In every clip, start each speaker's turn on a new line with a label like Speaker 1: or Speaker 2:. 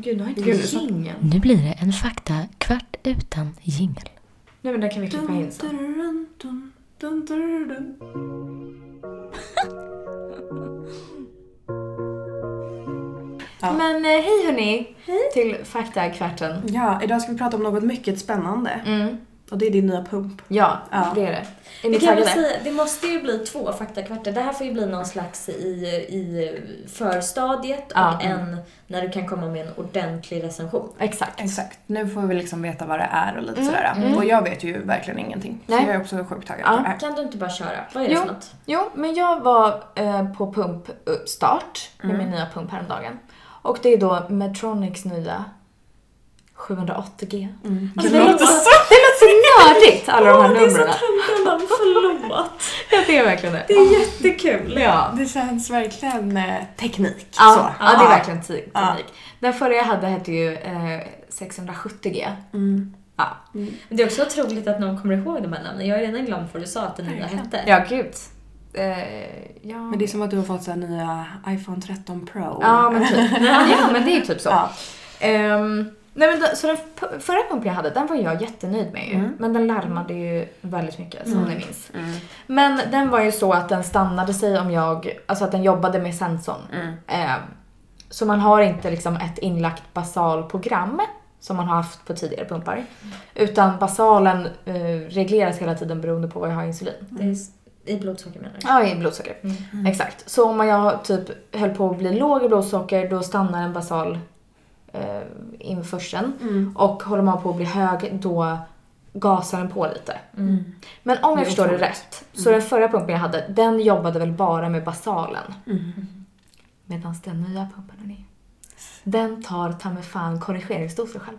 Speaker 1: Gud, nu har inte
Speaker 2: Gud,
Speaker 1: vi
Speaker 2: så-
Speaker 1: jingeln.
Speaker 3: Nu blir det en faktakvart utan jingel.
Speaker 1: Nej men den kan vi klippa in sen.
Speaker 2: Dun, dun, dun, dun, dun. Ja.
Speaker 1: Men eh, hej hörni! Hej! Till faktagkvarten.
Speaker 2: Ja, idag ska vi prata om något mycket spännande.
Speaker 1: Mm.
Speaker 2: Och det är din nya pump.
Speaker 1: Ja,
Speaker 2: Ja.
Speaker 1: det är det. Är
Speaker 4: Vi
Speaker 1: ni
Speaker 4: kan väl
Speaker 1: taggade?
Speaker 4: säga, det måste ju bli två faktakvartar. Det här får ju bli någon slags i, i förstadiet
Speaker 1: Ja.
Speaker 4: och en när du kan komma med en ordentlig recension.
Speaker 1: Exakt.
Speaker 2: Exakt. Nu får vi liksom veta vad det är och lite sådär. Och jag vet ju verkligen ingenting.
Speaker 1: Nej.
Speaker 2: Så jag är också sjukt taggad
Speaker 1: Ja.
Speaker 2: på det här.
Speaker 4: Kan du inte bara köra? Vad är det
Speaker 1: Jo.
Speaker 4: för något?
Speaker 1: Jo, men jag var eh, på pumpstart med min nya pump häromdagen. Och det är då Medtronics nya 780G.
Speaker 2: Gud, Mm. Alltså, det låter så...
Speaker 1: Det låter så nördigt alla de här
Speaker 4: det är så
Speaker 1: numren.
Speaker 4: tankarna, förlåt.
Speaker 1: Ja, det är verkligen det.
Speaker 4: Det är jättekul.
Speaker 1: Ja.
Speaker 2: Det känns verkligen eh, teknik. så.
Speaker 1: Ja, ja, det är verkligen te- teknik.
Speaker 2: Ja.
Speaker 1: Den förra jag hade hette ju eh, 670G.
Speaker 2: Mm.
Speaker 1: Ja.
Speaker 4: Men det är också otroligt att någon kommer ihåg de här namnen. Jag är redan glömt vad du sa att den nya hette.
Speaker 1: ja, gud. Eh, ja.
Speaker 2: Men det är som att du har fått så här nya iPhone 13 Pro.
Speaker 1: Ja, men typ. ja, men det är typ så.
Speaker 2: Ja.
Speaker 1: Ehm, nej men då, så den p- förra pumpen jag hade, den var jag jättenöjd med ju.
Speaker 2: Mm.
Speaker 1: Men den larmade ju väldigt mycket som
Speaker 2: Mm.
Speaker 1: ni minns.
Speaker 2: Mm.
Speaker 1: Men den var ju så att den stannade sig om jag, alltså att den jobbade med sensorn.
Speaker 2: Mm.
Speaker 1: Ehm, så man har inte liksom ett inlagt basalprogram som man har haft på tidigare
Speaker 2: Mm.
Speaker 1: pumpar. Utan basalen eh, regleras hela tiden beroende på vad jag har i insulin.
Speaker 4: Det är s- I blodsocker menar du?
Speaker 1: Ja, i blodsocker.
Speaker 4: Mm.
Speaker 1: Exakt. Så om jag typ höll på att bli låg i blodsocker då stannar en basal eh, införseln.
Speaker 2: Mm.
Speaker 1: Och håller man på att bli hög då gasar den på lite.
Speaker 4: Mm.
Speaker 1: Men om
Speaker 2: Det är
Speaker 1: jag förstår det
Speaker 2: otroligt.
Speaker 1: rätt, så den förra pumpen jag hade, den jobbade väl bara med basalen.
Speaker 4: Mm.
Speaker 1: Medan den nya pumpen, hörni, den tar ta mig fan korrigeringsdoser själv.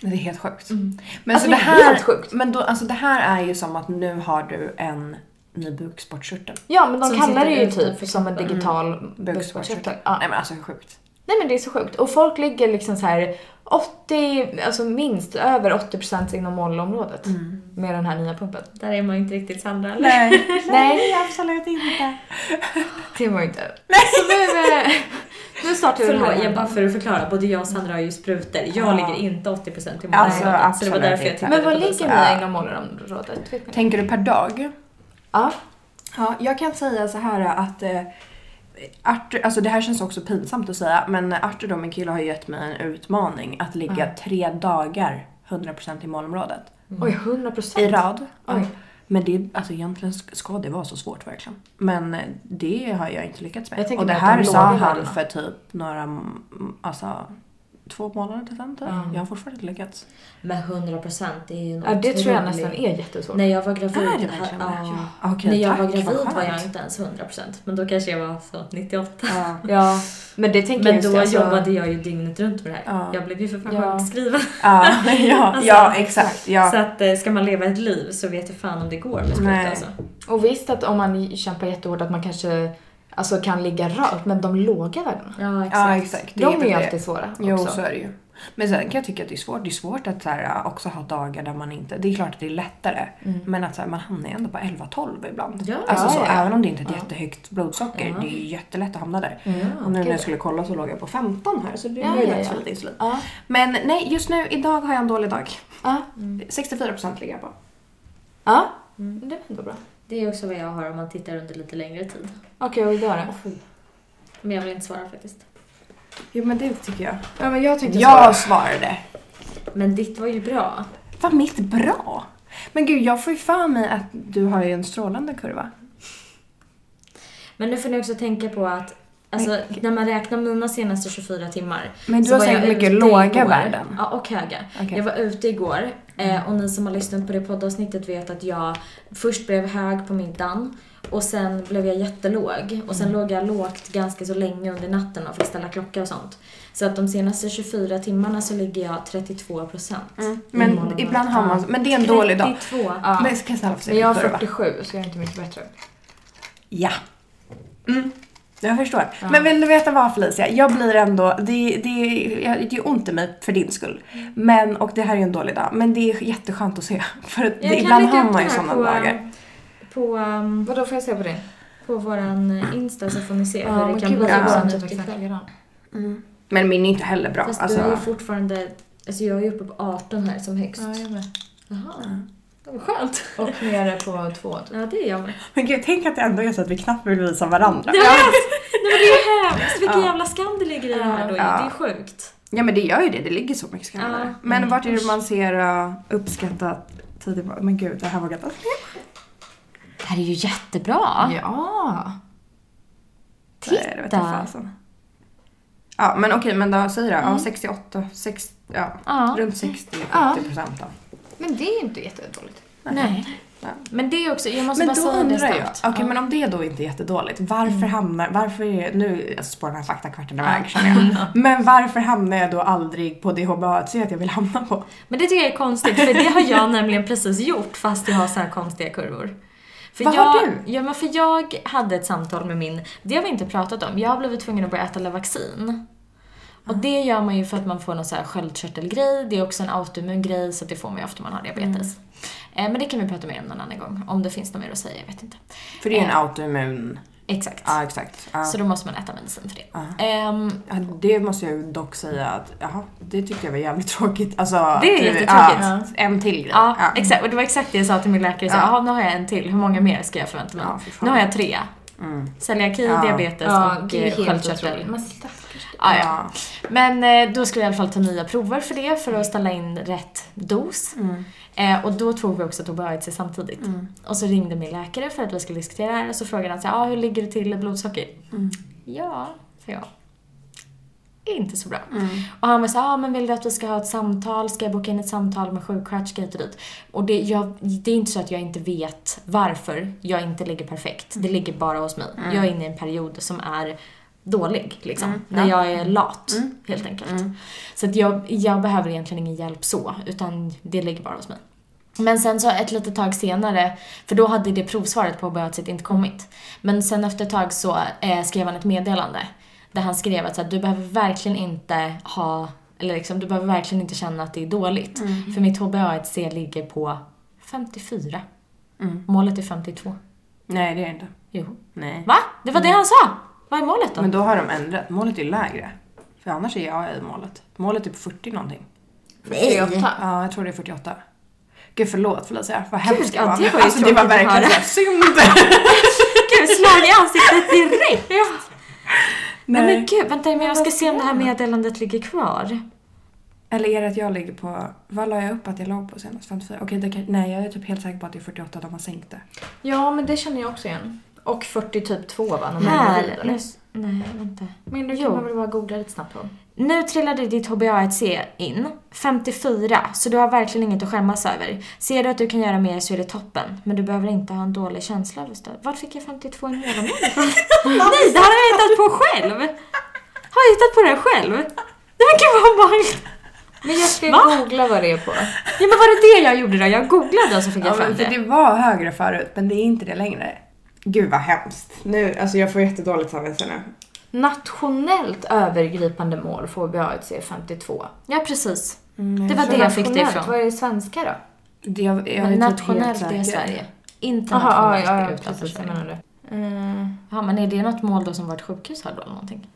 Speaker 2: Det är helt sjukt. Men,
Speaker 1: Alltså,
Speaker 2: så Mm. det
Speaker 1: det är
Speaker 2: här,
Speaker 1: helt sjukt.
Speaker 2: men då, alltså det här är ju som att nu har du en ny bukspottkörtel.
Speaker 1: Ja, men de
Speaker 4: Som
Speaker 1: kallar
Speaker 4: sitter
Speaker 1: det ju
Speaker 4: utanför
Speaker 1: typ som en
Speaker 4: kroppen. Mm.
Speaker 1: digital
Speaker 2: Bukspottkörtel.
Speaker 1: bukspottkörtel. Ja.
Speaker 2: Nej men alltså hur sjukt.
Speaker 1: Nej men det är så sjukt. Och folk ligger liksom så här 80, alltså minst över 80% inom målområdet med den här nya pumpen.
Speaker 4: Där är man ju inte riktigt Sandra. eller?
Speaker 2: Nej.
Speaker 1: Nej,
Speaker 2: absolut inte.
Speaker 1: det var ju inte. Nej. Så nu, eh, nu startar vi den här.
Speaker 4: Förlåt, jag
Speaker 1: igen.
Speaker 4: bara för att förklara. Både jag och Sandra har ju sprutor. Jag
Speaker 2: Ja.
Speaker 4: ligger inte 80% i målet.
Speaker 2: Alltså,
Speaker 4: så det var
Speaker 2: absolut
Speaker 4: därför jag
Speaker 2: inte.
Speaker 4: tittade
Speaker 1: Men vad
Speaker 4: på
Speaker 1: ligger
Speaker 4: det.
Speaker 1: ni
Speaker 2: Ja.
Speaker 1: inom målområdet? Vet ni?
Speaker 2: Tänker du per dag?
Speaker 1: Ja.
Speaker 2: Ja, jag kan säga så här att eh, Arthur, alltså det här känns också pinsamt att säga, men Arthur då, min kille, har ju gett mig en utmaning att ligga tre dagar 100% i målområdet.
Speaker 1: Oj, 100%?
Speaker 2: I rad.
Speaker 1: Oj.
Speaker 2: Men det, alltså egentligen sk- ska det vara så svårt verkligen. Men eh, det har jag inte lyckats
Speaker 1: Jag
Speaker 2: med.
Speaker 1: tänker
Speaker 2: Och det
Speaker 1: bara att
Speaker 2: här
Speaker 1: de
Speaker 2: sa
Speaker 1: låga
Speaker 2: han
Speaker 1: värdena.
Speaker 2: för typ några, mm, alltså två månader sedan typ.
Speaker 1: Ja.
Speaker 2: Jag har fortfarande inte lyckats.
Speaker 4: Med 100% det är ju en
Speaker 1: Ja, det tror jag
Speaker 4: otrolig-
Speaker 1: nästan är jättesvårt.
Speaker 4: När jag var gravid,
Speaker 2: Är det Ah. verkligen det?
Speaker 4: ja.
Speaker 2: Okej,
Speaker 4: när jag
Speaker 2: tack,
Speaker 4: var
Speaker 2: vad
Speaker 4: gravid var jag
Speaker 2: skönt.
Speaker 4: inte ens 100% men då kanske jag var så 98.
Speaker 2: Ja.
Speaker 1: Ja, men det tänker jag
Speaker 4: Men
Speaker 1: just
Speaker 4: då
Speaker 1: det, alltså-
Speaker 4: jobbade jag ju dygnet runt med det här.
Speaker 2: Ja.
Speaker 4: Jag blev ju för fan
Speaker 1: Ja.
Speaker 4: sjukskriven.
Speaker 2: Ja, ja,
Speaker 4: Alltså,
Speaker 2: ja exakt. Ja.
Speaker 4: Så att eh, ska man leva ett liv så vet jag fan om det går med spruta
Speaker 2: Nej.
Speaker 4: alltså.
Speaker 1: Och visst att om man kämpar jättehårt att man kanske alltså, kan ligga rakt, men de låga värdena,
Speaker 4: Ja exakt.
Speaker 2: Ja, exakt. Det
Speaker 1: de är ju
Speaker 2: det.
Speaker 1: alltid svåra också.
Speaker 2: Jo, så är det ju. Men sen kan jag tycka att det är svårt. Det är svårt att så här, äh, också ha dagar där man inte... Det är klart att det är lättare.
Speaker 1: Mm.
Speaker 2: Men att så här, man hamnar ju ändå på 11-12 ibland.
Speaker 4: Ja,
Speaker 2: alltså
Speaker 1: ja,
Speaker 2: så,
Speaker 1: ja.
Speaker 2: även om det inte är ett jättehögt blodsocker.
Speaker 4: Ja.
Speaker 2: Det är ju jättelätt att hamna där.
Speaker 4: Ja.
Speaker 2: Och nu när
Speaker 1: gud.
Speaker 2: jag skulle kolla så låg jag på 15 här. Så det
Speaker 1: Ja,
Speaker 2: var ju
Speaker 1: ja,
Speaker 2: dags
Speaker 1: ja.
Speaker 2: för lite insulin.
Speaker 1: Ja.
Speaker 2: Men nej, just nu, idag har jag en dålig dag.
Speaker 1: Ja.
Speaker 2: 64% ligger jag på.
Speaker 1: Ja, det var ändå bra.
Speaker 4: Det är också vad jag har om man tittar under lite längre tid.
Speaker 1: Okej, och idag då?
Speaker 4: Men jag vill inte svara faktiskt.
Speaker 2: Jo men det tycker jag.
Speaker 1: Ja, men jag tänkte
Speaker 2: Jag svarade.
Speaker 4: Men ditt var ju bra.
Speaker 2: Vad mitt bra? Men gud, jag får ju för mig att du har ju en strålande kurva.
Speaker 4: Men nu får ni också tänka på att alltså, när man räknar mina senaste 24 timmar.
Speaker 2: Men du
Speaker 4: så
Speaker 2: har
Speaker 4: var jag
Speaker 2: säkert mycket
Speaker 4: ute
Speaker 2: låga
Speaker 4: igår.
Speaker 2: värden.
Speaker 4: Ja, och höga.
Speaker 2: Okej. Mm.
Speaker 4: Jag var ute igår eh, och ni som har lyssnat på det poddavsnittet vet att jag först blev hög på middagen och sen blev jag jättelåg och sen
Speaker 2: Mm.
Speaker 4: låg jag lågt ganska så länge under natten och fick ställa klocka och sånt. Så att de senaste 24 timmarna så ligger jag 32 procent.
Speaker 2: Men
Speaker 4: Mm.
Speaker 2: ibland har man... Men det är en dålig dag.
Speaker 4: 32.
Speaker 1: Ja.
Speaker 2: Men jag kan snälla få se
Speaker 1: Men jag
Speaker 2: din
Speaker 1: har
Speaker 2: kurva.
Speaker 1: 47 så jag är inte mycket bättre.
Speaker 2: Ja. Mm. Jag förstår. Men vill du veta vad Felicia? Jag blir ändå... Det, det, jag- det är ont i mig för din skull.
Speaker 4: Mm.
Speaker 2: Men, och det här är ju en dålig dag. Men det är jätteskönt att se. För att
Speaker 4: Jag
Speaker 2: det,
Speaker 4: kan
Speaker 2: ibland
Speaker 4: lägga
Speaker 2: har
Speaker 4: upp
Speaker 2: man
Speaker 4: det
Speaker 2: ju
Speaker 4: här
Speaker 2: sådana
Speaker 4: på,
Speaker 2: dagar.
Speaker 4: På, ehm,
Speaker 1: Vadå, får jag se på det?
Speaker 4: på våran eh, Insta så får ni se
Speaker 1: Ja,
Speaker 4: hur
Speaker 1: men
Speaker 4: det kan
Speaker 1: gud,
Speaker 4: bli.
Speaker 1: jag
Speaker 2: ja.
Speaker 1: var
Speaker 4: ibland
Speaker 1: typ
Speaker 4: ute i
Speaker 1: exakt
Speaker 4: kväll.
Speaker 1: likadan.
Speaker 2: Men min är inte heller bra.
Speaker 4: Mm. Fast
Speaker 2: alltså,
Speaker 4: du är ju fortfarande... Alltså jag är ju uppe på 18 här som högst.
Speaker 1: Ja, jag med.
Speaker 4: Jaha. Det var skönt.
Speaker 1: Och nere på två typ.
Speaker 4: Ja, det är jag med.
Speaker 2: Men gud, tänk att det ändå är så att vi knappt vill visa varandra.
Speaker 4: Nej men det är ju hemskt! Vilken jävla skam det ligger i det här då
Speaker 2: Ja.
Speaker 4: Det är sjukt.
Speaker 2: Ja men det gör ju det, det ligger så mycket skam
Speaker 4: Ja.
Speaker 2: där. Men vart är det man ser uh, uppskattat tidigt? Men gud, det här var gött.
Speaker 4: Det här är ju jättebra!
Speaker 1: Ja.
Speaker 2: Nej, det vet jag fasen. Ja men okej, men då säger jag ja, 68, 60, ja,
Speaker 4: Mm. Ja.
Speaker 2: runt 60-70
Speaker 1: Ja.
Speaker 2: procent då.
Speaker 1: Men det är ju inte jättedåligt.
Speaker 4: Nej.
Speaker 2: Nej.
Speaker 4: Men det är också, jag måste
Speaker 2: Men
Speaker 4: bara
Speaker 2: då
Speaker 4: säga det
Speaker 2: undrar jag,
Speaker 4: snabbt. Mm.
Speaker 2: okej men om det då inte är jättedåligt, varför hamnar, varför är, nu alltså, spårar den här faktakvarten iväg känner jag. Men varför hamnar jag då aldrig på det HBHC att jag vill hamna på?
Speaker 4: Men det tycker jag är konstigt, för det har jag nämligen precis gjort fast jag har så här konstiga kurvor. För
Speaker 2: Vad
Speaker 4: jag,
Speaker 2: har du?
Speaker 4: Ja, men för jag hade ett samtal med min, det har vi inte pratat om, jag har blivit tvungen att börja äta Levaxin. Och det gör man ju för att man får någon så här sköldkörtelgrej, det är också en autoimmun grej så det får man ju ofta om man har diabetes.
Speaker 2: Mm.
Speaker 4: Eh, Men det kan vi prata mer om någon annan gång, om det finns något mer att säga, jag vet inte.
Speaker 2: För det är en
Speaker 4: Eh,
Speaker 2: autoimmun,
Speaker 4: Exakt.
Speaker 2: ja exakt. Ja.
Speaker 4: Så då måste man äta medicin för det.
Speaker 2: Ja.
Speaker 4: Ehm,
Speaker 2: Ja, Det måste jag ju dock säga att, jaha, det tyckte jag var jävligt tråkigt. Alltså,
Speaker 4: Det är
Speaker 2: typ,
Speaker 4: jättetråkigt.
Speaker 2: ja, en till grej.
Speaker 4: Ja,
Speaker 2: Ja.
Speaker 4: exakt. Och det var exakt det jag sa till min läkare. Så,
Speaker 2: Ja.
Speaker 4: ja. nu har jag en till. Hur många mer ska jag förvänta mig?
Speaker 2: Ja, fy fan.
Speaker 4: nu har jag tre.
Speaker 2: Mm.
Speaker 4: Celiaki,
Speaker 2: Ja.
Speaker 4: diabetes
Speaker 1: Ja,
Speaker 4: och
Speaker 1: det är
Speaker 4: eh,
Speaker 1: helt
Speaker 4: sköldkörtel.
Speaker 1: otroligt. Men stackars
Speaker 4: Ja, Ah, ja.
Speaker 2: Ja.
Speaker 4: Men eh, då skulle jag i alla fall ta nya prover för det, för att ställa in rätt dos. Eh, och då tog vi också Tobiaitse samtidigt. Och så ringde min läkare för att vi skulle diskutera det här och så frågade han så här, ah, hur ligger det till i blodsocker?
Speaker 2: Mm.
Speaker 4: Ja, sa jag. Inte så bra. Och han var så här, ah, men vill du att vi ska ha ett samtal? Ska jag boka in ett samtal med sjuksköterska hit och dit? Och det, jag, det är inte så att jag inte vet varför jag inte ligger perfekt. Det ligger bara hos mig. Jag är inne i en period som är dålig liksom. När jag är lat helt enkelt. Så att jag, jag behöver egentligen ingen hjälp så, utan det ligger bara hos mig. Men sen så ett litet tag senare, för då hade det provsvaret på behörighet inte kommit. Men sen efter ett tag så eh, skrev han ett meddelande där han skrev att så här, du behöver verkligen inte ha, eller liksom du behöver verkligen inte känna att det är dåligt. För mitt HbA1c ligger på 54. Målet är 52.
Speaker 2: Nej, det är det inte.
Speaker 4: Jo.
Speaker 2: Nej.
Speaker 4: Va? Det var det han sa! Vad är målet då?
Speaker 2: Men då har de ändrat, målet är lägre. För annars är jag i målet. Målet är på 40 någonting.
Speaker 1: Nej!
Speaker 2: Ja, jag tror det är 48. Gud förlåt Felicia, vad hemskt jag
Speaker 4: ja,
Speaker 2: var.
Speaker 4: det var ju
Speaker 2: alltså, det var
Speaker 4: tråkigt att
Speaker 2: verkligen
Speaker 4: höra.
Speaker 2: så här, synd.
Speaker 4: Gud, slag i ansiktet direkt! Nej.
Speaker 2: Nej.
Speaker 4: men gud, vänta men jag ska se om det här meddelandet ligger kvar.
Speaker 2: Eller är det att jag ligger på, vad la jag upp att jag låg på senast? 54? Okej, det kan, nej jag är typ helt säker på att det är 48 de har sänkt det.
Speaker 1: Ja, men det känner jag också igen. Och 40 typ 2 va? När man är gravid,
Speaker 4: Här.
Speaker 1: eller?
Speaker 4: Nu, nej, vänta.
Speaker 1: Men du
Speaker 4: Jo.
Speaker 1: kan man väl bara googla lite snabbt på.
Speaker 4: Nu trillade ditt HBA1C in, 54, så du har verkligen inget att skämmas över. Ser du att du kan göra mer så är det toppen, men du behöver inte ha en dålig känsla över stöd. Vart fick jag 52 i månaden? Nej, det här har jag hittat på själv! Har jag hittat på det här själv? Nej men gud vad obehagligt!
Speaker 1: Men jag ska
Speaker 4: Va?
Speaker 1: googla vad det är på.
Speaker 4: Ja men var det det jag gjorde då? Jag googlade och så fick jag
Speaker 2: Ja,
Speaker 4: fram
Speaker 2: men för
Speaker 4: det.
Speaker 2: det var högre förut, men det är inte det längre. Gud vad hemskt. Nu, alltså jag får jättedåligt samvete nu.
Speaker 1: Nationellt övergripande mål för HBA1C 52.
Speaker 4: Ja precis.
Speaker 2: Mm,
Speaker 4: Det var det jag fick det
Speaker 1: Nationellt,
Speaker 4: ifrån.
Speaker 1: Vad är det svenska då?
Speaker 2: Det, jag, jag
Speaker 4: Men
Speaker 2: är
Speaker 4: nationellt
Speaker 2: typ
Speaker 4: det är
Speaker 2: helt säker.
Speaker 4: Sverige.
Speaker 1: Jaha,
Speaker 4: Internationellt
Speaker 1: ja,
Speaker 4: är
Speaker 1: ja,
Speaker 4: utanför
Speaker 1: precis. Jag
Speaker 4: Sverige.
Speaker 1: menar det. Eh,
Speaker 4: Ja men är det något mål då som vårt sjukhus har då eller någonting?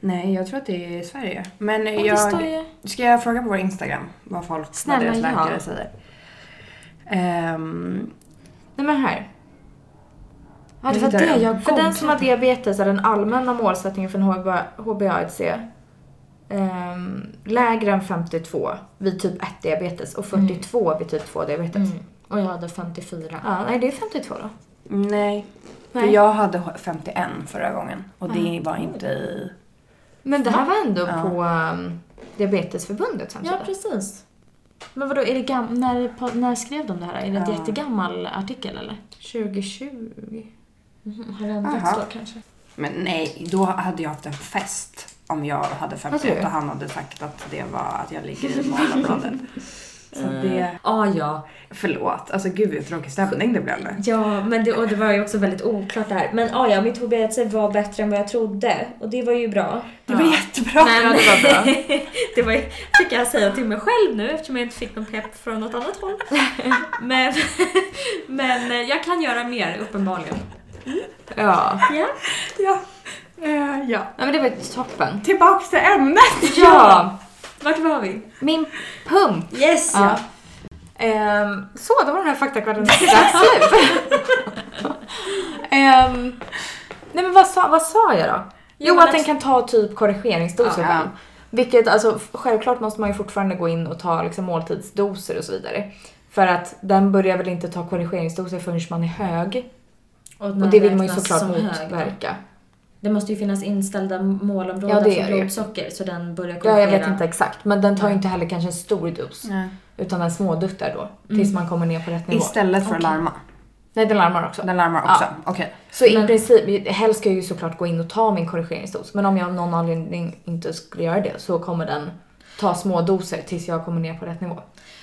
Speaker 2: Nej, jag tror att det är Sverige. Men
Speaker 4: Ja, det står
Speaker 2: jag...
Speaker 4: ju...
Speaker 2: Ska jag fråga på vår Instagram vad folk,
Speaker 4: Snälla,
Speaker 2: vad deras
Speaker 4: ja.
Speaker 2: läkare säger? Ehm,
Speaker 1: nej men här.
Speaker 4: Ja det var
Speaker 2: Vidare.
Speaker 4: det jag
Speaker 1: För den som har
Speaker 4: googlade.
Speaker 1: diabetes är den allmänna målsättningen för en HBA- HBA1C ehm, lägre än 52 vid typ 1 diabetes och 42 vid typ 2 diabetes.
Speaker 4: Mm. Och jag hade 54.
Speaker 1: Ja, nej det är 52 då.
Speaker 2: nej. För
Speaker 1: Nej.
Speaker 2: jag hade 51 förra gången och det var inte i...
Speaker 1: Men det här var ändå
Speaker 2: Ja.
Speaker 1: på ehm, Diabetesförbundets hemsida.
Speaker 4: Ja, precis. Men vadå, är det gam- när, på, när skrev de det här? Är det en
Speaker 2: Ja.
Speaker 4: jättegammal artikel eller?
Speaker 1: 2020.
Speaker 4: Mhm, Har det ändrats
Speaker 2: Aha.
Speaker 4: då kanske?
Speaker 2: Men nej, då hade jag haft en fest om jag hade
Speaker 1: Vad tror
Speaker 2: 51
Speaker 1: du?
Speaker 2: och han hade sagt att det var att jag ligger i målområdet. Så det...
Speaker 4: Ah, ja,
Speaker 2: Förlåt, alltså gud vilken tråkig stämning det blev nu.
Speaker 4: ja men det, och det var ju också väldigt oklart det här. Men ah, ja, mitt HBLC var bättre än vad jag trodde och det var ju bra.
Speaker 2: Det var jättebra.
Speaker 1: Ja, det var bra.
Speaker 4: det var, fick jag säga till mig själv nu eftersom jag inte fick någon pepp från något annat håll. men, men eh, jag kan göra mer uppenbarligen.
Speaker 1: Ja.
Speaker 4: Ja.
Speaker 2: Ja. Eh, ja.
Speaker 1: Nej men det var ju toppen.
Speaker 2: Tillbaks till ämnet!
Speaker 1: Ja!
Speaker 4: Vart var vi?
Speaker 1: Min pump!
Speaker 4: Yes!
Speaker 1: Ja. Ehm, så, då var den här faktakvällen slut. Ehm, nej men vad sa, vad sa jag då? Jo,
Speaker 4: men
Speaker 1: att
Speaker 4: att-
Speaker 1: den kan ta typ korrigeringsdoser.
Speaker 2: Ja.
Speaker 1: ibland. Vilket alltså f- självklart måste man ju fortfarande gå in och ta liksom måltidsdoser och så vidare. För att den börjar väl inte ta korrigeringsdoser förrän man är hög.
Speaker 4: Och,
Speaker 1: Och det vill man ju
Speaker 4: räknas
Speaker 1: såklart
Speaker 4: som hög då.
Speaker 1: motverka.
Speaker 4: Det måste ju finnas inställda målområden
Speaker 1: Ja, det gör
Speaker 4: för
Speaker 1: det ju.
Speaker 4: blodsocker så den börjar
Speaker 1: Ja,
Speaker 4: korrigera.
Speaker 1: jag vet inte exakt. Men den tar ju inte heller kanske en stor dos.
Speaker 2: Nej.
Speaker 1: Utan den småduttar
Speaker 4: Mm.
Speaker 1: då. Tills man kommer ner på rätt nivå.
Speaker 2: Istället för att larma.
Speaker 1: Nej, den larmar också.
Speaker 2: Den larmar
Speaker 1: Ja.
Speaker 2: också. Okej.
Speaker 1: Så i princip, helst ska jag ju såklart gå in och ta min korrigeringsdos. Men om jag av någon anledning inte skulle göra det så kommer den ta små doser tills jag kommer ner på rätt nivå.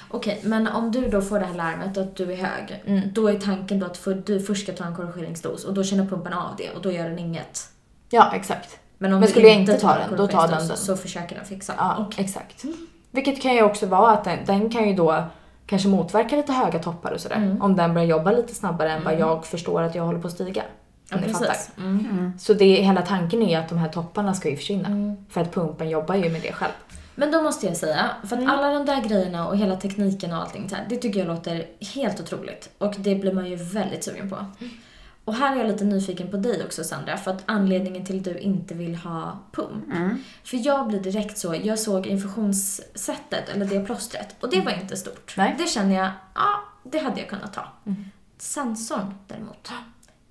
Speaker 4: Okej, men om du då får det här larmet att du är hög,
Speaker 1: Mm.
Speaker 4: då är tanken då att för, du först ska ta en korrigeringsdos och då känner pumpen av det och då gör den inget.
Speaker 1: Ja, exakt.
Speaker 4: Men om
Speaker 1: Men
Speaker 4: du
Speaker 1: skulle jag inte ta
Speaker 4: en
Speaker 1: den, då tar
Speaker 4: korrigeringsdos
Speaker 1: den den.
Speaker 4: Så försöker den fixa.
Speaker 1: Ja,
Speaker 4: Okej.
Speaker 1: exakt. Vilket kan ju också vara att den, den kan ju då kanske motverka lite höga toppar och sådär.
Speaker 4: Mm.
Speaker 1: Om den börjar jobba lite snabbare än vad jag förstår att jag håller på att stiga.
Speaker 4: Ja,
Speaker 1: Om ni fattar.
Speaker 4: precis. Mm.
Speaker 1: Så det, hela tanken är ju att de här topparna ska ju försvinna.
Speaker 4: Mm.
Speaker 1: För att pumpen jobbar ju med det själv.
Speaker 4: Men då måste jag säga, för att
Speaker 1: Mm.
Speaker 4: alla de där grejerna och hela tekniken och allting så här, det tycker jag låter helt otroligt. Och det blir man ju väldigt sugen på.
Speaker 1: Mm.
Speaker 4: Och här är jag lite nyfiken på dig också Sandra, för att anledningen till att du inte vill ha pump.
Speaker 1: Mm.
Speaker 4: För jag blir direkt så, jag såg infusionssättet, eller det plåstret, och det var inte stort.
Speaker 1: Mm. Nej. Mm.
Speaker 4: Det känner jag, ja, det hade jag kunnat ta. Sensorn däremot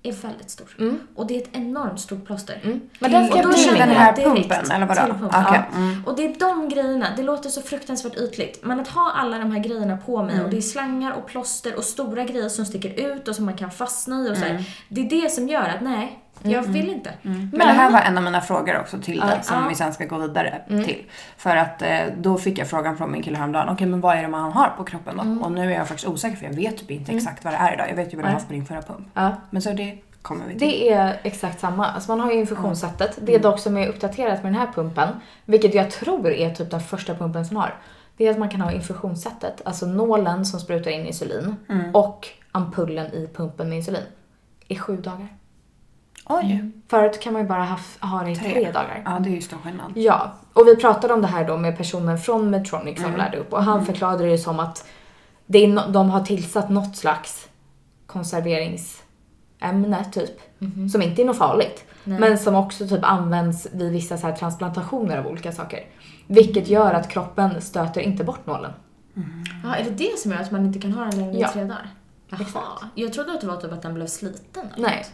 Speaker 4: är väldigt stor. Och det är ett enormt stort plåster.
Speaker 1: Mm. Men
Speaker 2: Till-
Speaker 1: den ska
Speaker 2: och då
Speaker 1: till
Speaker 2: känner
Speaker 1: den
Speaker 2: jag-
Speaker 1: här.
Speaker 2: här
Speaker 4: direkt
Speaker 2: pumpen, eller vadå?
Speaker 4: till pumpen.
Speaker 2: Okej,
Speaker 1: Mm.
Speaker 4: Ja. Och det är de grejerna, det låter så fruktansvärt ytligt, men att ha alla de här grejerna på mig
Speaker 1: Mm.
Speaker 4: och det är slangar och plåster och stora grejer som sticker ut och som man kan fastna i och så
Speaker 1: Mm.
Speaker 4: här, Det är det som gör att nej, jag vill inte.
Speaker 2: Men, det här var en av mina frågor också till dig som vi sen ska gå vidare till. För att eh, då fick jag frågan från min kille häromdagen. Okej men vad är det man har på kroppen då? Och nu är jag faktiskt osäker för jag vet typ inte exakt vad det är idag. Jag vet ju vad jag har haft på din förra pump.
Speaker 1: Ja.
Speaker 2: Men så det kommer vi till.
Speaker 1: Det är exakt samma. Alltså man har ju infusionssättet. Det dock som är uppdaterat med den här pumpen, vilket jag tror är typ den första pumpen som har, det är att man kan ha infusionssättet, alltså nålen som sprutar in insulin och ampullen i pumpen med insulin, i sju dagar.
Speaker 2: Oj!
Speaker 1: Förut kan man ju bara ha, ha det i tre,
Speaker 2: Tre.
Speaker 1: dagar.
Speaker 2: Ja det är ju stor skillnad.
Speaker 1: Ja, och vi pratade om det här då med personen från Medtronic
Speaker 4: Mm.
Speaker 1: som lärde upp och han förklarade det som att det är no- de har tillsatt något slags konserveringsämne typ.
Speaker 4: Mhm.
Speaker 1: Som inte är något farligt. Men som också typ används vid vissa så här transplantationer av olika saker. Vilket gör att kroppen stöter inte bort nålen.
Speaker 4: Ja, är det det som gör att man inte kan ha den längre
Speaker 1: Ja.
Speaker 4: än tre dagar? Jaha. Jag trodde att det var typ att den blev sliten. eller
Speaker 1: Nej.
Speaker 4: något.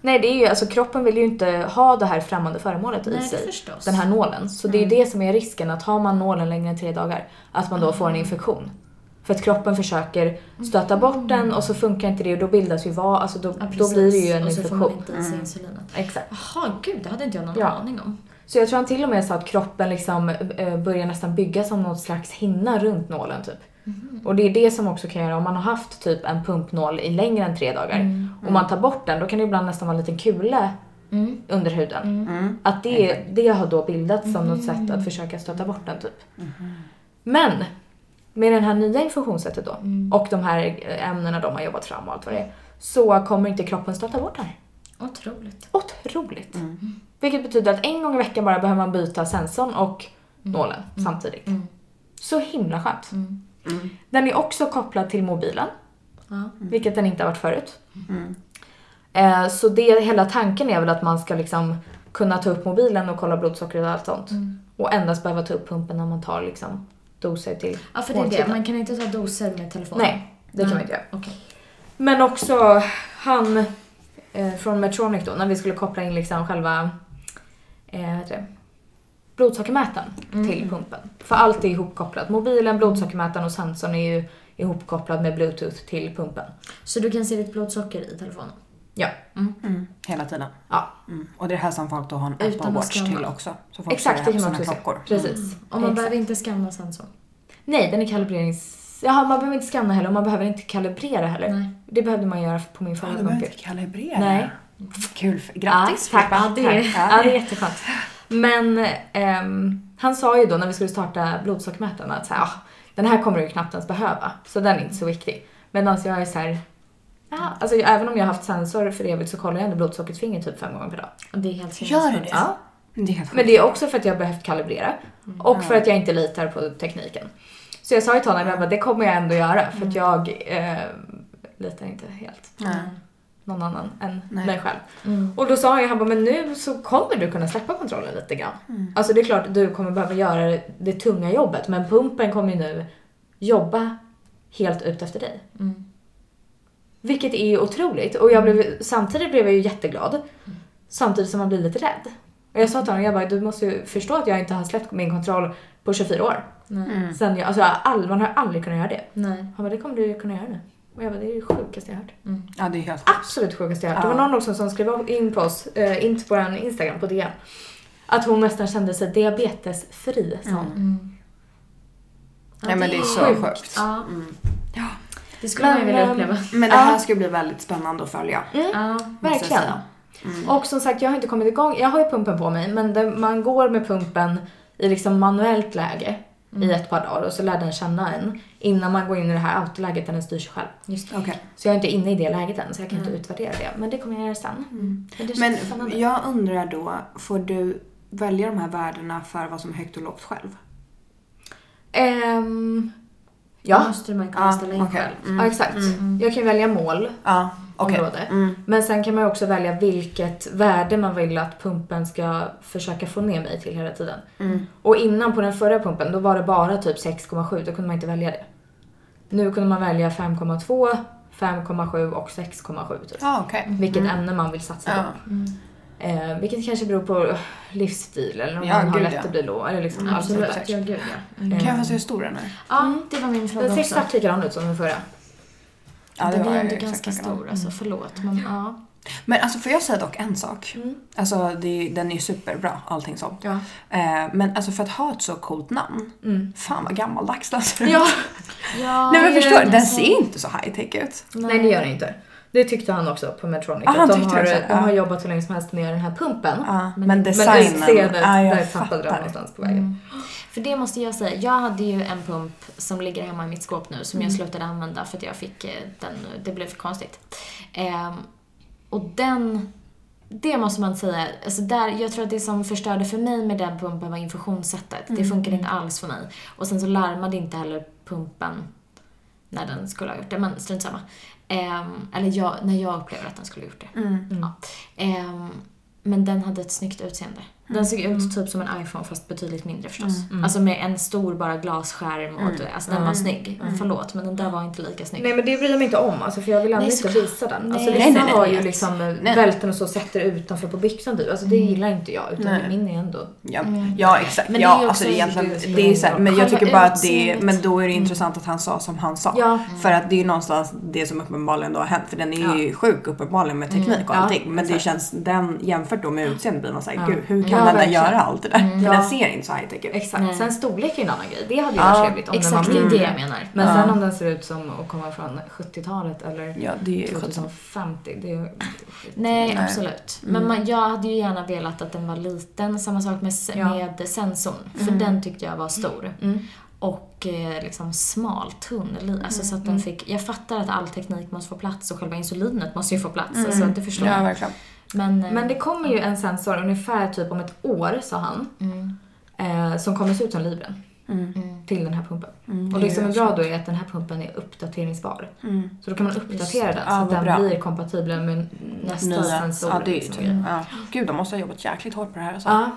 Speaker 1: Nej, det är ju alltså kroppen vill ju inte ha det här främmande föremålet i
Speaker 4: Nej, det
Speaker 1: sig.
Speaker 4: förstås.
Speaker 1: Den här nålen. Så det är
Speaker 4: Mm.
Speaker 1: ju det som är risken att har man nålen längre än tre dagar, att man då får
Speaker 4: Mm.
Speaker 1: en infektion. För att kroppen försöker stöta bort den och så funkar inte det och då bildas ju vad, alltså då,
Speaker 4: Mm. Ja,
Speaker 1: då blir det ju
Speaker 4: precis.
Speaker 1: en
Speaker 4: Och så får man
Speaker 1: infektion.
Speaker 4: inte i sig insulinet.
Speaker 1: Exakt.
Speaker 4: Jaha, gud, det hade inte jag någon
Speaker 1: Ja.
Speaker 4: aning om.
Speaker 1: Så jag tror han till och med sa att kroppen liksom eh, börjar nästan bygga som något slags hinna runt nålen typ. Och det är det som också kan göra om man har haft typ en pumpnål i längre än tre dagar och man tar bort den, då kan det ibland nästan vara en liten kula under huden. Att det, det har då bildats som något sätt att försöka stöta bort den typ. Men med den här nya infusionssättet då och de här eh, ämnena de har jobbat fram och allt vad det är så kommer inte kroppen stöta bort den.
Speaker 4: Otroligt.
Speaker 1: Otroligt.
Speaker 4: Mm.
Speaker 1: Vilket betyder att en gång i veckan bara behöver man byta sensorn och
Speaker 4: Mm.
Speaker 1: nålen samtidigt. Så himla skönt. Den är också kopplad till mobilen,
Speaker 4: Ja. Mm.
Speaker 1: vilket den inte har varit förut. Eh, så det, hela tanken är väl att man ska liksom kunna ta upp mobilen och kolla blodsockret och allt sånt.
Speaker 4: Mm.
Speaker 1: Och endast behöva ta upp pumpen när man tar liksom doser till
Speaker 4: Ja, för det är det.
Speaker 1: måltiden.
Speaker 4: Man kan inte ta doser med telefonen.
Speaker 1: Nej, det kan man inte göra.
Speaker 4: Okej.
Speaker 1: Men också han eh, från Medtronic då, när vi skulle koppla in liksom själva eh, vad heter det? blodsockermätaren
Speaker 2: Mm.
Speaker 1: till pumpen. För allt är ihopkopplat. Mobilen, blodsockermätaren och sensorn är ju ihopkopplad med bluetooth till pumpen.
Speaker 4: Så du kan se ditt blodsocker i telefonen?
Speaker 1: Ja.
Speaker 2: Mm. Hela tiden.
Speaker 1: ja.
Speaker 2: Mm. Och det är det här som folk då har en Apple
Speaker 4: Utan att
Speaker 2: Watch
Speaker 4: skanna.
Speaker 2: till också. Så folk
Speaker 1: Exakt,
Speaker 2: ser
Speaker 1: det
Speaker 2: det
Speaker 1: kan
Speaker 2: här
Speaker 1: man
Speaker 2: på
Speaker 1: också
Speaker 2: sina
Speaker 1: se.
Speaker 2: klockor. Mm.
Speaker 1: Precis.
Speaker 4: Om man behöver inte scanna sensorn?
Speaker 1: Nej, den är kalibrerings... Jaha, man behöver inte scanna heller och man behöver inte kalibrera heller.
Speaker 4: Nej.
Speaker 1: Det behövde man göra på min
Speaker 2: Ja,
Speaker 1: förra
Speaker 2: du
Speaker 1: pump.
Speaker 2: behöver inte
Speaker 1: ju.
Speaker 2: kalibrera.
Speaker 1: Nej.
Speaker 2: Kul. Grattis
Speaker 1: ja, tack,
Speaker 2: Filippa.
Speaker 1: ja, det, är,
Speaker 2: Tack.
Speaker 1: ja, det är jätteskönt. Men ehm, han sa ju då när vi skulle starta blodsockermätaren att så här, ah, den här kommer du ju knappt ens behöva, så den är inte så viktig. Medan jag är så här, ah, Ja, alltså jag- även om jag har haft sensor för evigt så kollar jag ändå blodsockerfingret typ fem gånger per dag.
Speaker 4: Och det är helt
Speaker 2: Gör du
Speaker 4: sinnessjukt.
Speaker 2: det?
Speaker 1: Ja.
Speaker 2: Det är helt
Speaker 1: Men det är också för att jag har behövt kalibrera
Speaker 2: Mm.
Speaker 1: och för att jag inte litar på tekniken. Så jag sa ju till honom, jag bara, det kommer jag ändå göra för att
Speaker 2: Mm.
Speaker 1: jag eh, litar inte helt på
Speaker 2: Nej.
Speaker 1: någon annan än
Speaker 2: Nej.
Speaker 1: mig själv. Och då sa jag, han bara, men nu så kommer du kunna släppa kontrollen lite grann. Alltså det är klart, du kommer behöva göra det tunga jobbet men pumpen kommer ju nu jobba helt ut efter dig. Vilket är ju otroligt. Och jag blev, samtidigt blev jag ju jätteglad. Samtidigt som man blir lite rädd. Och jag sa till honom, jag bara, du måste ju förstå att jag inte har släppt min kontroll på 24 år.
Speaker 4: Nej.
Speaker 1: Sen jag, alltså jag har all, man har aldrig kunnat göra det.
Speaker 4: Nej.
Speaker 1: Han bara, det kommer du ju kunna göra nu. Och jag bara, det är det sjukaste jag hört.
Speaker 2: Ja, det är helt
Speaker 1: Absolut sjukaste jag hört. Det var någon också som skrev in på oss, eh, in på vår Instagram, på DN. Att hon nästan kände sig
Speaker 2: Mm.
Speaker 1: diabetesfri, Mm, sa hon.
Speaker 4: Ja,
Speaker 2: Nej men det är så
Speaker 1: sjukt.
Speaker 2: sjukt.
Speaker 4: Ja.
Speaker 2: Ja.
Speaker 4: Det skulle man ju
Speaker 1: Men,
Speaker 4: vilja
Speaker 1: ehm,
Speaker 4: uppleva.
Speaker 2: Men det här ska bli väldigt spännande att följa.
Speaker 4: Ja.
Speaker 2: jag
Speaker 1: Verkligen.
Speaker 2: säga. Mm.
Speaker 1: Och som sagt, jag har inte kommit igång. Jag har ju pumpen på mig, men det, man går med pumpen i liksom manuellt läge
Speaker 2: Mm.
Speaker 1: i ett par dagar och så lär den känna en innan man går in i det här autoläget där den styr sig själv.
Speaker 4: Just det.
Speaker 2: Okej.
Speaker 1: Så jag är inte inne i det läget än, så jag kan inte utvärdera det. Men det kommer jag göra sen. Men det känns
Speaker 2: Mm. Men
Speaker 1: spännande.
Speaker 2: jag undrar då, får du välja de här värdena för vad som är högt och lågt själv?
Speaker 1: Ehm, ja,
Speaker 4: Måste man ju kunna
Speaker 2: Ja,
Speaker 4: ställa
Speaker 2: okej.
Speaker 4: in själv.
Speaker 2: Mm.
Speaker 1: ja, exakt. Jag kan välja mål,
Speaker 2: Ja, okej.
Speaker 1: område.
Speaker 2: Mm.
Speaker 1: Men sen kan man ju också välja vilket värde man vill att pumpen ska försöka få ner mig till hela tiden.
Speaker 2: Mm.
Speaker 1: Och innan på den förra pumpen, då var det bara typ 6,7. Då kunde man inte välja det. Nu kunde man välja 5,2, 5,7 och 6,7 typ.
Speaker 2: Ja, okej.
Speaker 1: Vilket ämne man vill satsa på.
Speaker 2: Mm. Ja.
Speaker 1: Eh, vilket kanske beror på eh, livsstil eller om
Speaker 2: Ja,
Speaker 1: man har
Speaker 2: gud,
Speaker 1: lätt
Speaker 2: ja. Mm,
Speaker 1: att bli låg. Eller liksom allt sånt
Speaker 4: Absolut.
Speaker 1: där.
Speaker 4: Ja, gud ja. Mm.
Speaker 2: Kan jag få se hur stor den är?
Speaker 4: Ja, det var min fråga
Speaker 1: Den ser
Speaker 4: också.
Speaker 1: exakt likadan ut som den
Speaker 2: Mm.
Speaker 1: förra.
Speaker 2: Ja,
Speaker 4: Den
Speaker 2: var
Speaker 4: är
Speaker 2: ju
Speaker 4: ändå
Speaker 2: exakt
Speaker 4: ganska
Speaker 2: likadan.
Speaker 4: stor alltså, förlåt. Men, ja.
Speaker 2: Men alltså får jag säga dock en sak? Alltså det, den är ju superbra allting sånt.
Speaker 1: Ja.
Speaker 2: Eh, men alltså för att ha ett så coolt namn.
Speaker 1: Mm.
Speaker 2: Fan vad gammaldags den ser ut.
Speaker 1: ja.
Speaker 4: ja. alltså,
Speaker 2: Nej men
Speaker 1: det är
Speaker 2: förstår,
Speaker 1: den
Speaker 2: den ser ju inte så high tech ut.
Speaker 1: Nej det gör det inte. Det tyckte han också på Medtronic.
Speaker 2: Ah,
Speaker 1: att
Speaker 2: han
Speaker 1: de
Speaker 2: tyckte
Speaker 1: har,
Speaker 2: det
Speaker 1: de
Speaker 2: också, ja.
Speaker 1: har jobbat hur länge som helst med den här pumpen.
Speaker 2: Ja, men,
Speaker 1: Men
Speaker 2: designen.
Speaker 1: utseendet,
Speaker 2: ja, jag
Speaker 1: där tappade de
Speaker 2: fattar. Mm.
Speaker 1: någonstans på vägen.
Speaker 4: För det måste jag säga, jag hade ju en pump som ligger hemma i mitt skåp nu som jag slutade använda för att jag fick eh, den, det blev för konstigt. Ehm, och den, det måste man säga, alltså där, jag tror att det som förstörde för mig med den pumpen var infusionssättet. Det funkade inte alls för mig. Och sen så larmade inte heller pumpen när den skulle ha gjort det, men strunt samma. Ehm, eller jag, när jag upplever att den skulle ha gjort det.
Speaker 2: Mm.
Speaker 4: Ja. Ehm, men den hade ett snyggt utseende. Den såg ut typ som en iPhone fast betydligt mindre förstås. Alltså med en stor bara glasskärm och alltså den var snygg. Förlåt men den där var inte lika snygg.
Speaker 1: Nej men det bryr jag mig inte om alltså, för jag vill ändå
Speaker 4: Nej,
Speaker 1: inte
Speaker 4: såklart.
Speaker 1: visa den. Alltså,
Speaker 4: Nej.
Speaker 1: vissa
Speaker 2: Nej, nej, nej,
Speaker 1: har
Speaker 2: jag
Speaker 1: ju
Speaker 2: vet.
Speaker 1: liksom eh,
Speaker 2: Nej.
Speaker 1: bälten och så sätter utanför på byxan typ. Alltså det gillar inte jag utan
Speaker 2: Nej.
Speaker 1: min är ändå.
Speaker 2: Ja, ja exakt.
Speaker 4: Men det är
Speaker 2: ja,
Speaker 4: ju
Speaker 2: alltså
Speaker 4: också-
Speaker 2: egentligen,
Speaker 1: det
Speaker 2: det
Speaker 1: är ju-
Speaker 2: är, så här, men jag
Speaker 4: Själva
Speaker 2: tycker bara att det är,
Speaker 4: utseendet.
Speaker 2: men då är det intressant att han sa som han sa.
Speaker 1: Ja.
Speaker 2: För att det är ju någonstans det som uppenbarligen då har hänt. För den är ju sjuk uppenbarligen med teknik
Speaker 1: Mm. Ja,
Speaker 2: och allting. men det känns, den jämfört då med utseendet blir man såhär, gud hur kan
Speaker 1: Ja,
Speaker 2: den där
Speaker 1: verkligen. Mm.
Speaker 2: göra allt det där? För
Speaker 1: Ja.
Speaker 2: den ser inte så high tech ut.
Speaker 1: Exakt. Sen storlek är en annan grej. Det hade ju
Speaker 2: Ja,
Speaker 1: varit trevligt om
Speaker 4: Exakt, det
Speaker 1: den
Speaker 4: är
Speaker 1: var
Speaker 4: det
Speaker 1: mindre.
Speaker 4: jag menar.
Speaker 1: Men sen om den ser ut som att komma från 70-talet eller
Speaker 2: Ja,
Speaker 1: Mm.
Speaker 2: det är ju sjutton.
Speaker 1: 2050. Det är ju...
Speaker 4: Nej,
Speaker 2: Nej.
Speaker 4: absolut. Men man, jag hade ju gärna velat att den var liten. Samma sak med, s-
Speaker 1: Ja.
Speaker 4: med sensorn. För den tyckte jag var stor. Och eh, liksom smal, tunn. li- Alltså så att den fick, jag fattar att all teknik måste få plats och själva insulinet måste ju få plats. Alltså det förstår
Speaker 2: Mm. Ja,
Speaker 1: Mm.
Speaker 4: jag.
Speaker 2: verkligen.
Speaker 4: Men, eh,
Speaker 1: Men det kommer ju en sensor ungefär typ om ett år, sa han.
Speaker 4: mm,
Speaker 1: Eh, som kommer se ut som Libren. Till den här pumpen. och det som
Speaker 2: Mm.
Speaker 1: är bra då är att den här pumpen är uppdateringsbar. Så då kan man uppdatera den så
Speaker 2: Ja,
Speaker 1: att
Speaker 2: vad
Speaker 1: den
Speaker 2: bra.
Speaker 1: blir kompatibel med nästa
Speaker 2: Nya.
Speaker 1: sensor.
Speaker 2: Ja, det är ju
Speaker 1: liksom.
Speaker 2: tur. Ja. Gud, de måste ha jobbat jäkligt hårt på det här alltså.
Speaker 1: Ja,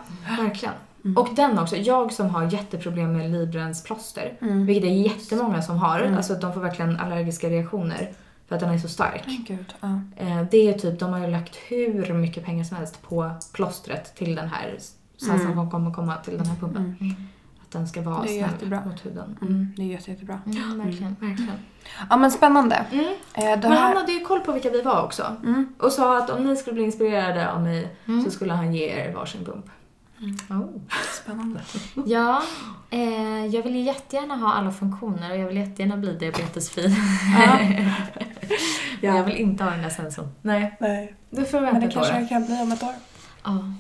Speaker 1: verkligen.
Speaker 2: Mm.
Speaker 1: Och den också. Jag som har jätteproblem med Librens plåster,
Speaker 2: Mm.
Speaker 1: vilket det är jättemånga som har, alltså att de får verkligen allergiska reaktioner för att den är så stark.
Speaker 2: Men Gud, ja. Mm.
Speaker 1: Eh, Det är ju typ, de har ju lagt hur mycket pengar som helst på plåstret till den här sensorn som kommer komma till den här pumpen. Att den ska vara
Speaker 2: Mm. Det är
Speaker 1: snäll
Speaker 2: jättebra.
Speaker 1: mot huden.
Speaker 2: Mm, det är jätte, jättebra.
Speaker 4: Mm, verkligen.
Speaker 1: Verkligen.
Speaker 2: Ja men spännande.
Speaker 1: Mm.
Speaker 2: Eh, det
Speaker 1: Men han
Speaker 2: här...
Speaker 1: hade ju koll på vilka vi var också.
Speaker 2: Mm.
Speaker 1: Och sa att om ni skulle bli inspirerade av mig så skulle han ge er varsin pump.
Speaker 2: Mm.
Speaker 4: Oh.
Speaker 2: Spännande.
Speaker 4: Ja, eh, jag vill ju jättegärna ha alla funktioner och jag vill jättegärna bli diabetesfri. Men jag vill inte ha den där sensorn.
Speaker 1: Nej,
Speaker 2: Nej.
Speaker 1: du får vänta
Speaker 2: Men det
Speaker 1: ett år.
Speaker 2: kanske jag kan bli om ett år.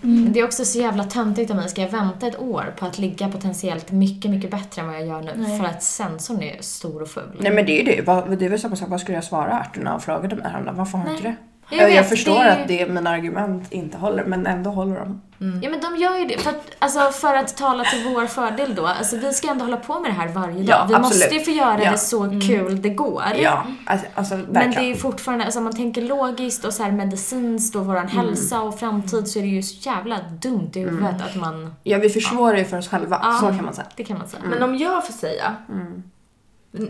Speaker 4: Mm. Det är också så jävla töntigt av mig. Ska jag vänta ett år på att ligga potentiellt mycket, mycket bättre än vad jag gör nu för att sensorn är stor och ful?
Speaker 2: Nej men det är ju det. Vad, det är väl samma sak. Vad skulle jag svara Arthur när han frågade mig häromdagen? Varför har du inte det?
Speaker 4: Jag
Speaker 2: Jag, jag,
Speaker 4: vet,
Speaker 2: förstår
Speaker 4: det är-
Speaker 2: att det, mina argument inte håller men ändå håller de.
Speaker 4: Ja men de gör ju det. För att, alltså, för att tala till vår fördel då. Alltså, vi ska ändå hålla på med det här varje
Speaker 2: Ja,
Speaker 4: dag. Vi måste ju
Speaker 2: absolut.
Speaker 4: få göra
Speaker 2: Ja.
Speaker 4: det så kul det går.
Speaker 2: Ja, alltså, alltså
Speaker 4: Men det
Speaker 2: verkligen.
Speaker 4: är ju fortfarande, alltså om man tänker logiskt och så här medicinskt och
Speaker 2: Mm.
Speaker 4: våran hälsa och framtid så är det ju så jävla dumt i huvudet att man...
Speaker 2: Ja, vi försvårar ju för oss själva.
Speaker 4: Ja.
Speaker 2: Så kan man säga.
Speaker 4: Det kan man säga.
Speaker 2: Mm.
Speaker 1: Men om jag får säga.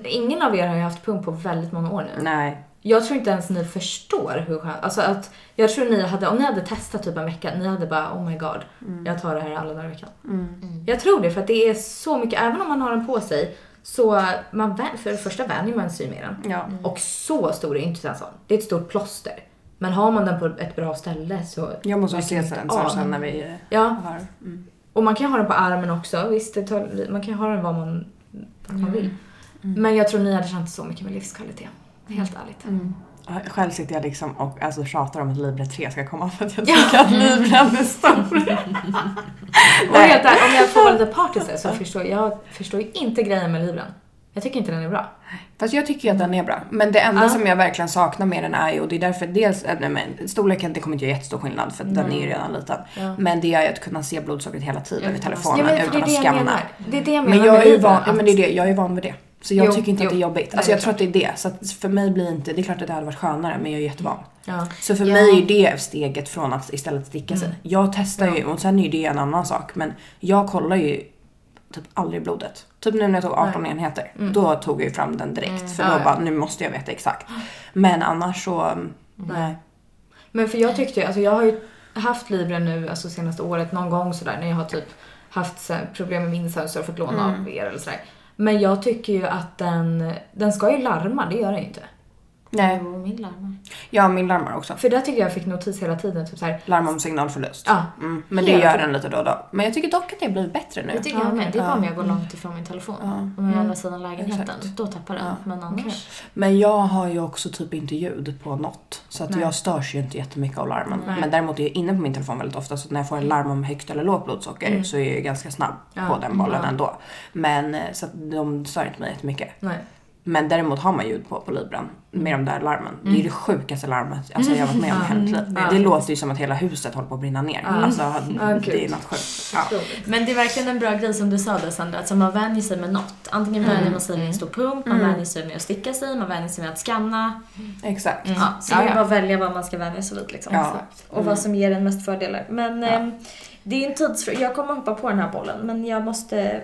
Speaker 1: Ingen av er har ju haft pump på väldigt många år nu.
Speaker 2: Nej.
Speaker 1: Jag tror inte ens ni förstår hur skönt, alltså att jag tror ni hade, om ni hade testat typ en vecka, ni hade bara oh my god,
Speaker 2: Mm.
Speaker 1: jag tar det här alla dagar i veckan. Mm. Jag tror det för att det är så mycket, även om man har den på sig, så man, vän- för det första vänjer man sig med den.
Speaker 2: Ja.
Speaker 1: Och så stor är inte sensorn, det är ett stort plåster. Men har man den på ett bra ställe så...
Speaker 2: Jag måste ju
Speaker 1: verkar
Speaker 2: se
Speaker 1: det
Speaker 2: sen,
Speaker 1: inte av.
Speaker 2: sen, sen när vi eh,
Speaker 1: Ja,
Speaker 2: har... Mm.
Speaker 1: och man kan ju ha den på armen också. Visst, det tar, man kan ju ha den var man, vad man
Speaker 2: Mm.
Speaker 1: vill. Men jag tror ni hade känt så mycket med livskvalitet.
Speaker 2: Mm.
Speaker 1: Helt ärligt.
Speaker 2: Själv sitter jag liksom och alltså, tjatar om att Libre 3 ska komma för att jag tycker att Libren är stor.
Speaker 1: Och helt ärligt, om jag får vara lite partisk så förstår jag förstår ju inte grejen med livren. Jag tycker inte den är bra.
Speaker 2: Fast jag tycker ju att den är bra. Men det enda
Speaker 1: Ja.
Speaker 2: som jag verkligen saknar med den är ju, och det är därför dels, äh, nej, men storleken det kommer inte göra jättestor skillnad för att den är ju redan liten.
Speaker 1: Ja.
Speaker 2: Men det är ju att kunna se blodsockret hela tiden i
Speaker 4: Utan att-
Speaker 2: telefonen utan att skanna.
Speaker 1: Det är det jag menar
Speaker 2: Men jag
Speaker 1: med
Speaker 2: är ju
Speaker 1: Libren,
Speaker 2: van, ja,
Speaker 1: att-
Speaker 2: men det är det, jag är van vid det. Så jag
Speaker 1: Jo,
Speaker 2: tycker inte att det är
Speaker 1: jo.
Speaker 2: jobbigt.
Speaker 1: Nej,
Speaker 2: Alltså jag
Speaker 1: det är
Speaker 2: tror att det är det. Så att för mig blir inte, det är klart att det hade varit skönare men jag är jättevan.
Speaker 1: Ja.
Speaker 2: Så för
Speaker 4: Ja.
Speaker 2: mig är det steget från att istället sticka sig. Jag testar ju och sen är det en annan sak men jag kollar ju typ aldrig blodet. Typ nu när jag tog 18 enheter, då tog jag ju fram den direkt för då
Speaker 1: Ja, ja.
Speaker 2: bara nu måste jag veta exakt. Men annars så, mm, nej.
Speaker 1: Men för jag tyckte ju, alltså jag har ju haft Libre nu alltså senaste året någon gång sådär när jag har typ haft så här problem med min sensor och fått låna
Speaker 4: Mm.
Speaker 1: av er eller sådär. Men jag tycker ju att den, den ska ju larma, det gör den ju inte.
Speaker 2: Nej,
Speaker 4: Jo, min larmar.
Speaker 2: jag har min larmar också.
Speaker 1: För där tycker jag fick notis hela tiden, typ såhär,
Speaker 2: Larm om signalförlust.
Speaker 1: ja,
Speaker 2: Mm, men det
Speaker 1: Hela
Speaker 2: gör den lite då och då. Men jag tycker dock att det har blivit bättre nu.
Speaker 4: Det tycker jag med. Det är bara om jag går långt ifrån min telefon. Om jag är å andra sidan lägenheten,
Speaker 2: Mm. Exakt. Mm.
Speaker 4: då tappar den. Men annars.
Speaker 2: Men jag har ju också typ inte ljud på något. Så att jag störs ju inte jättemycket av larmen. Men däremot är jag inne på min telefon väldigt ofta så att när jag får en larm om högt eller lågt blodsocker så är jag ju ganska snabb på den bollen ändå. Men eh, så att de stör inte mig jättemycket.
Speaker 1: nej.
Speaker 2: Men däremot har man ljud på på Libran med de där larmen. Det är ju det sjukaste larmet alltså, jag har varit med om i hela mitt liv. Det låter ju som att hela huset håller på att brinna ner. Alltså, det är
Speaker 1: gud.
Speaker 2: något sjukt. Ja.
Speaker 4: Men det är verkligen en bra grej som du sa där Sandra, att alltså man vänjer sig med något. Antingen
Speaker 2: Mm.
Speaker 4: vänjer man sig med en stor pump, man vänjer sig med att sticka sig, man vänjer sig med att skanna.
Speaker 2: Exakt.
Speaker 4: Mm. Ja, så
Speaker 1: Ja,
Speaker 4: det är
Speaker 1: ja.
Speaker 4: bara att välja vad man ska vänja sig vid liksom.
Speaker 2: Ja.
Speaker 4: Exakt. Och vad som ger en mest fördelar. Men ehm, det är en tidsfråga. Jag kommer hoppa på den här bollen men jag måste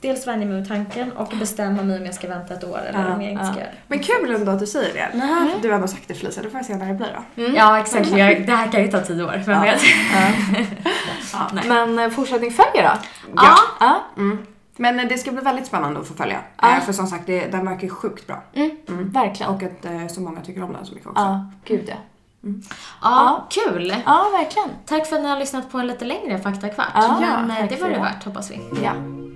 Speaker 4: dels vänja mig med tanken och bestämma mig om jag ska vänta ett år eller
Speaker 2: Ja,
Speaker 4: om jag inte ska göra det.
Speaker 2: Men kul ändå att du säger det. Du har ändå sagt det Felicia, då får jag se när det blir då.
Speaker 4: Ja exakt, jag, det här kan ju ta tio år, vem vet? Nej.
Speaker 1: Men eh, fortsättning följer då?
Speaker 4: Ja.
Speaker 1: Ja.
Speaker 2: Mm. Men eh, det ska bli väldigt spännande att få följa. Eh, För som sagt, det, den verkar ju sjukt bra.
Speaker 4: Mm.
Speaker 1: Verkligen.
Speaker 2: Och att eh, så många tycker om den så mycket också.
Speaker 1: Ja, gud ja.
Speaker 4: Ja, kul!
Speaker 1: Ja, verkligen.
Speaker 4: Tack för att ni har lyssnat på en lite längre Fakta Kvart.
Speaker 1: Ja,
Speaker 4: men eh,
Speaker 2: tack
Speaker 4: det
Speaker 2: för
Speaker 4: var det
Speaker 2: det.
Speaker 4: värt hoppas vi.
Speaker 1: Ja.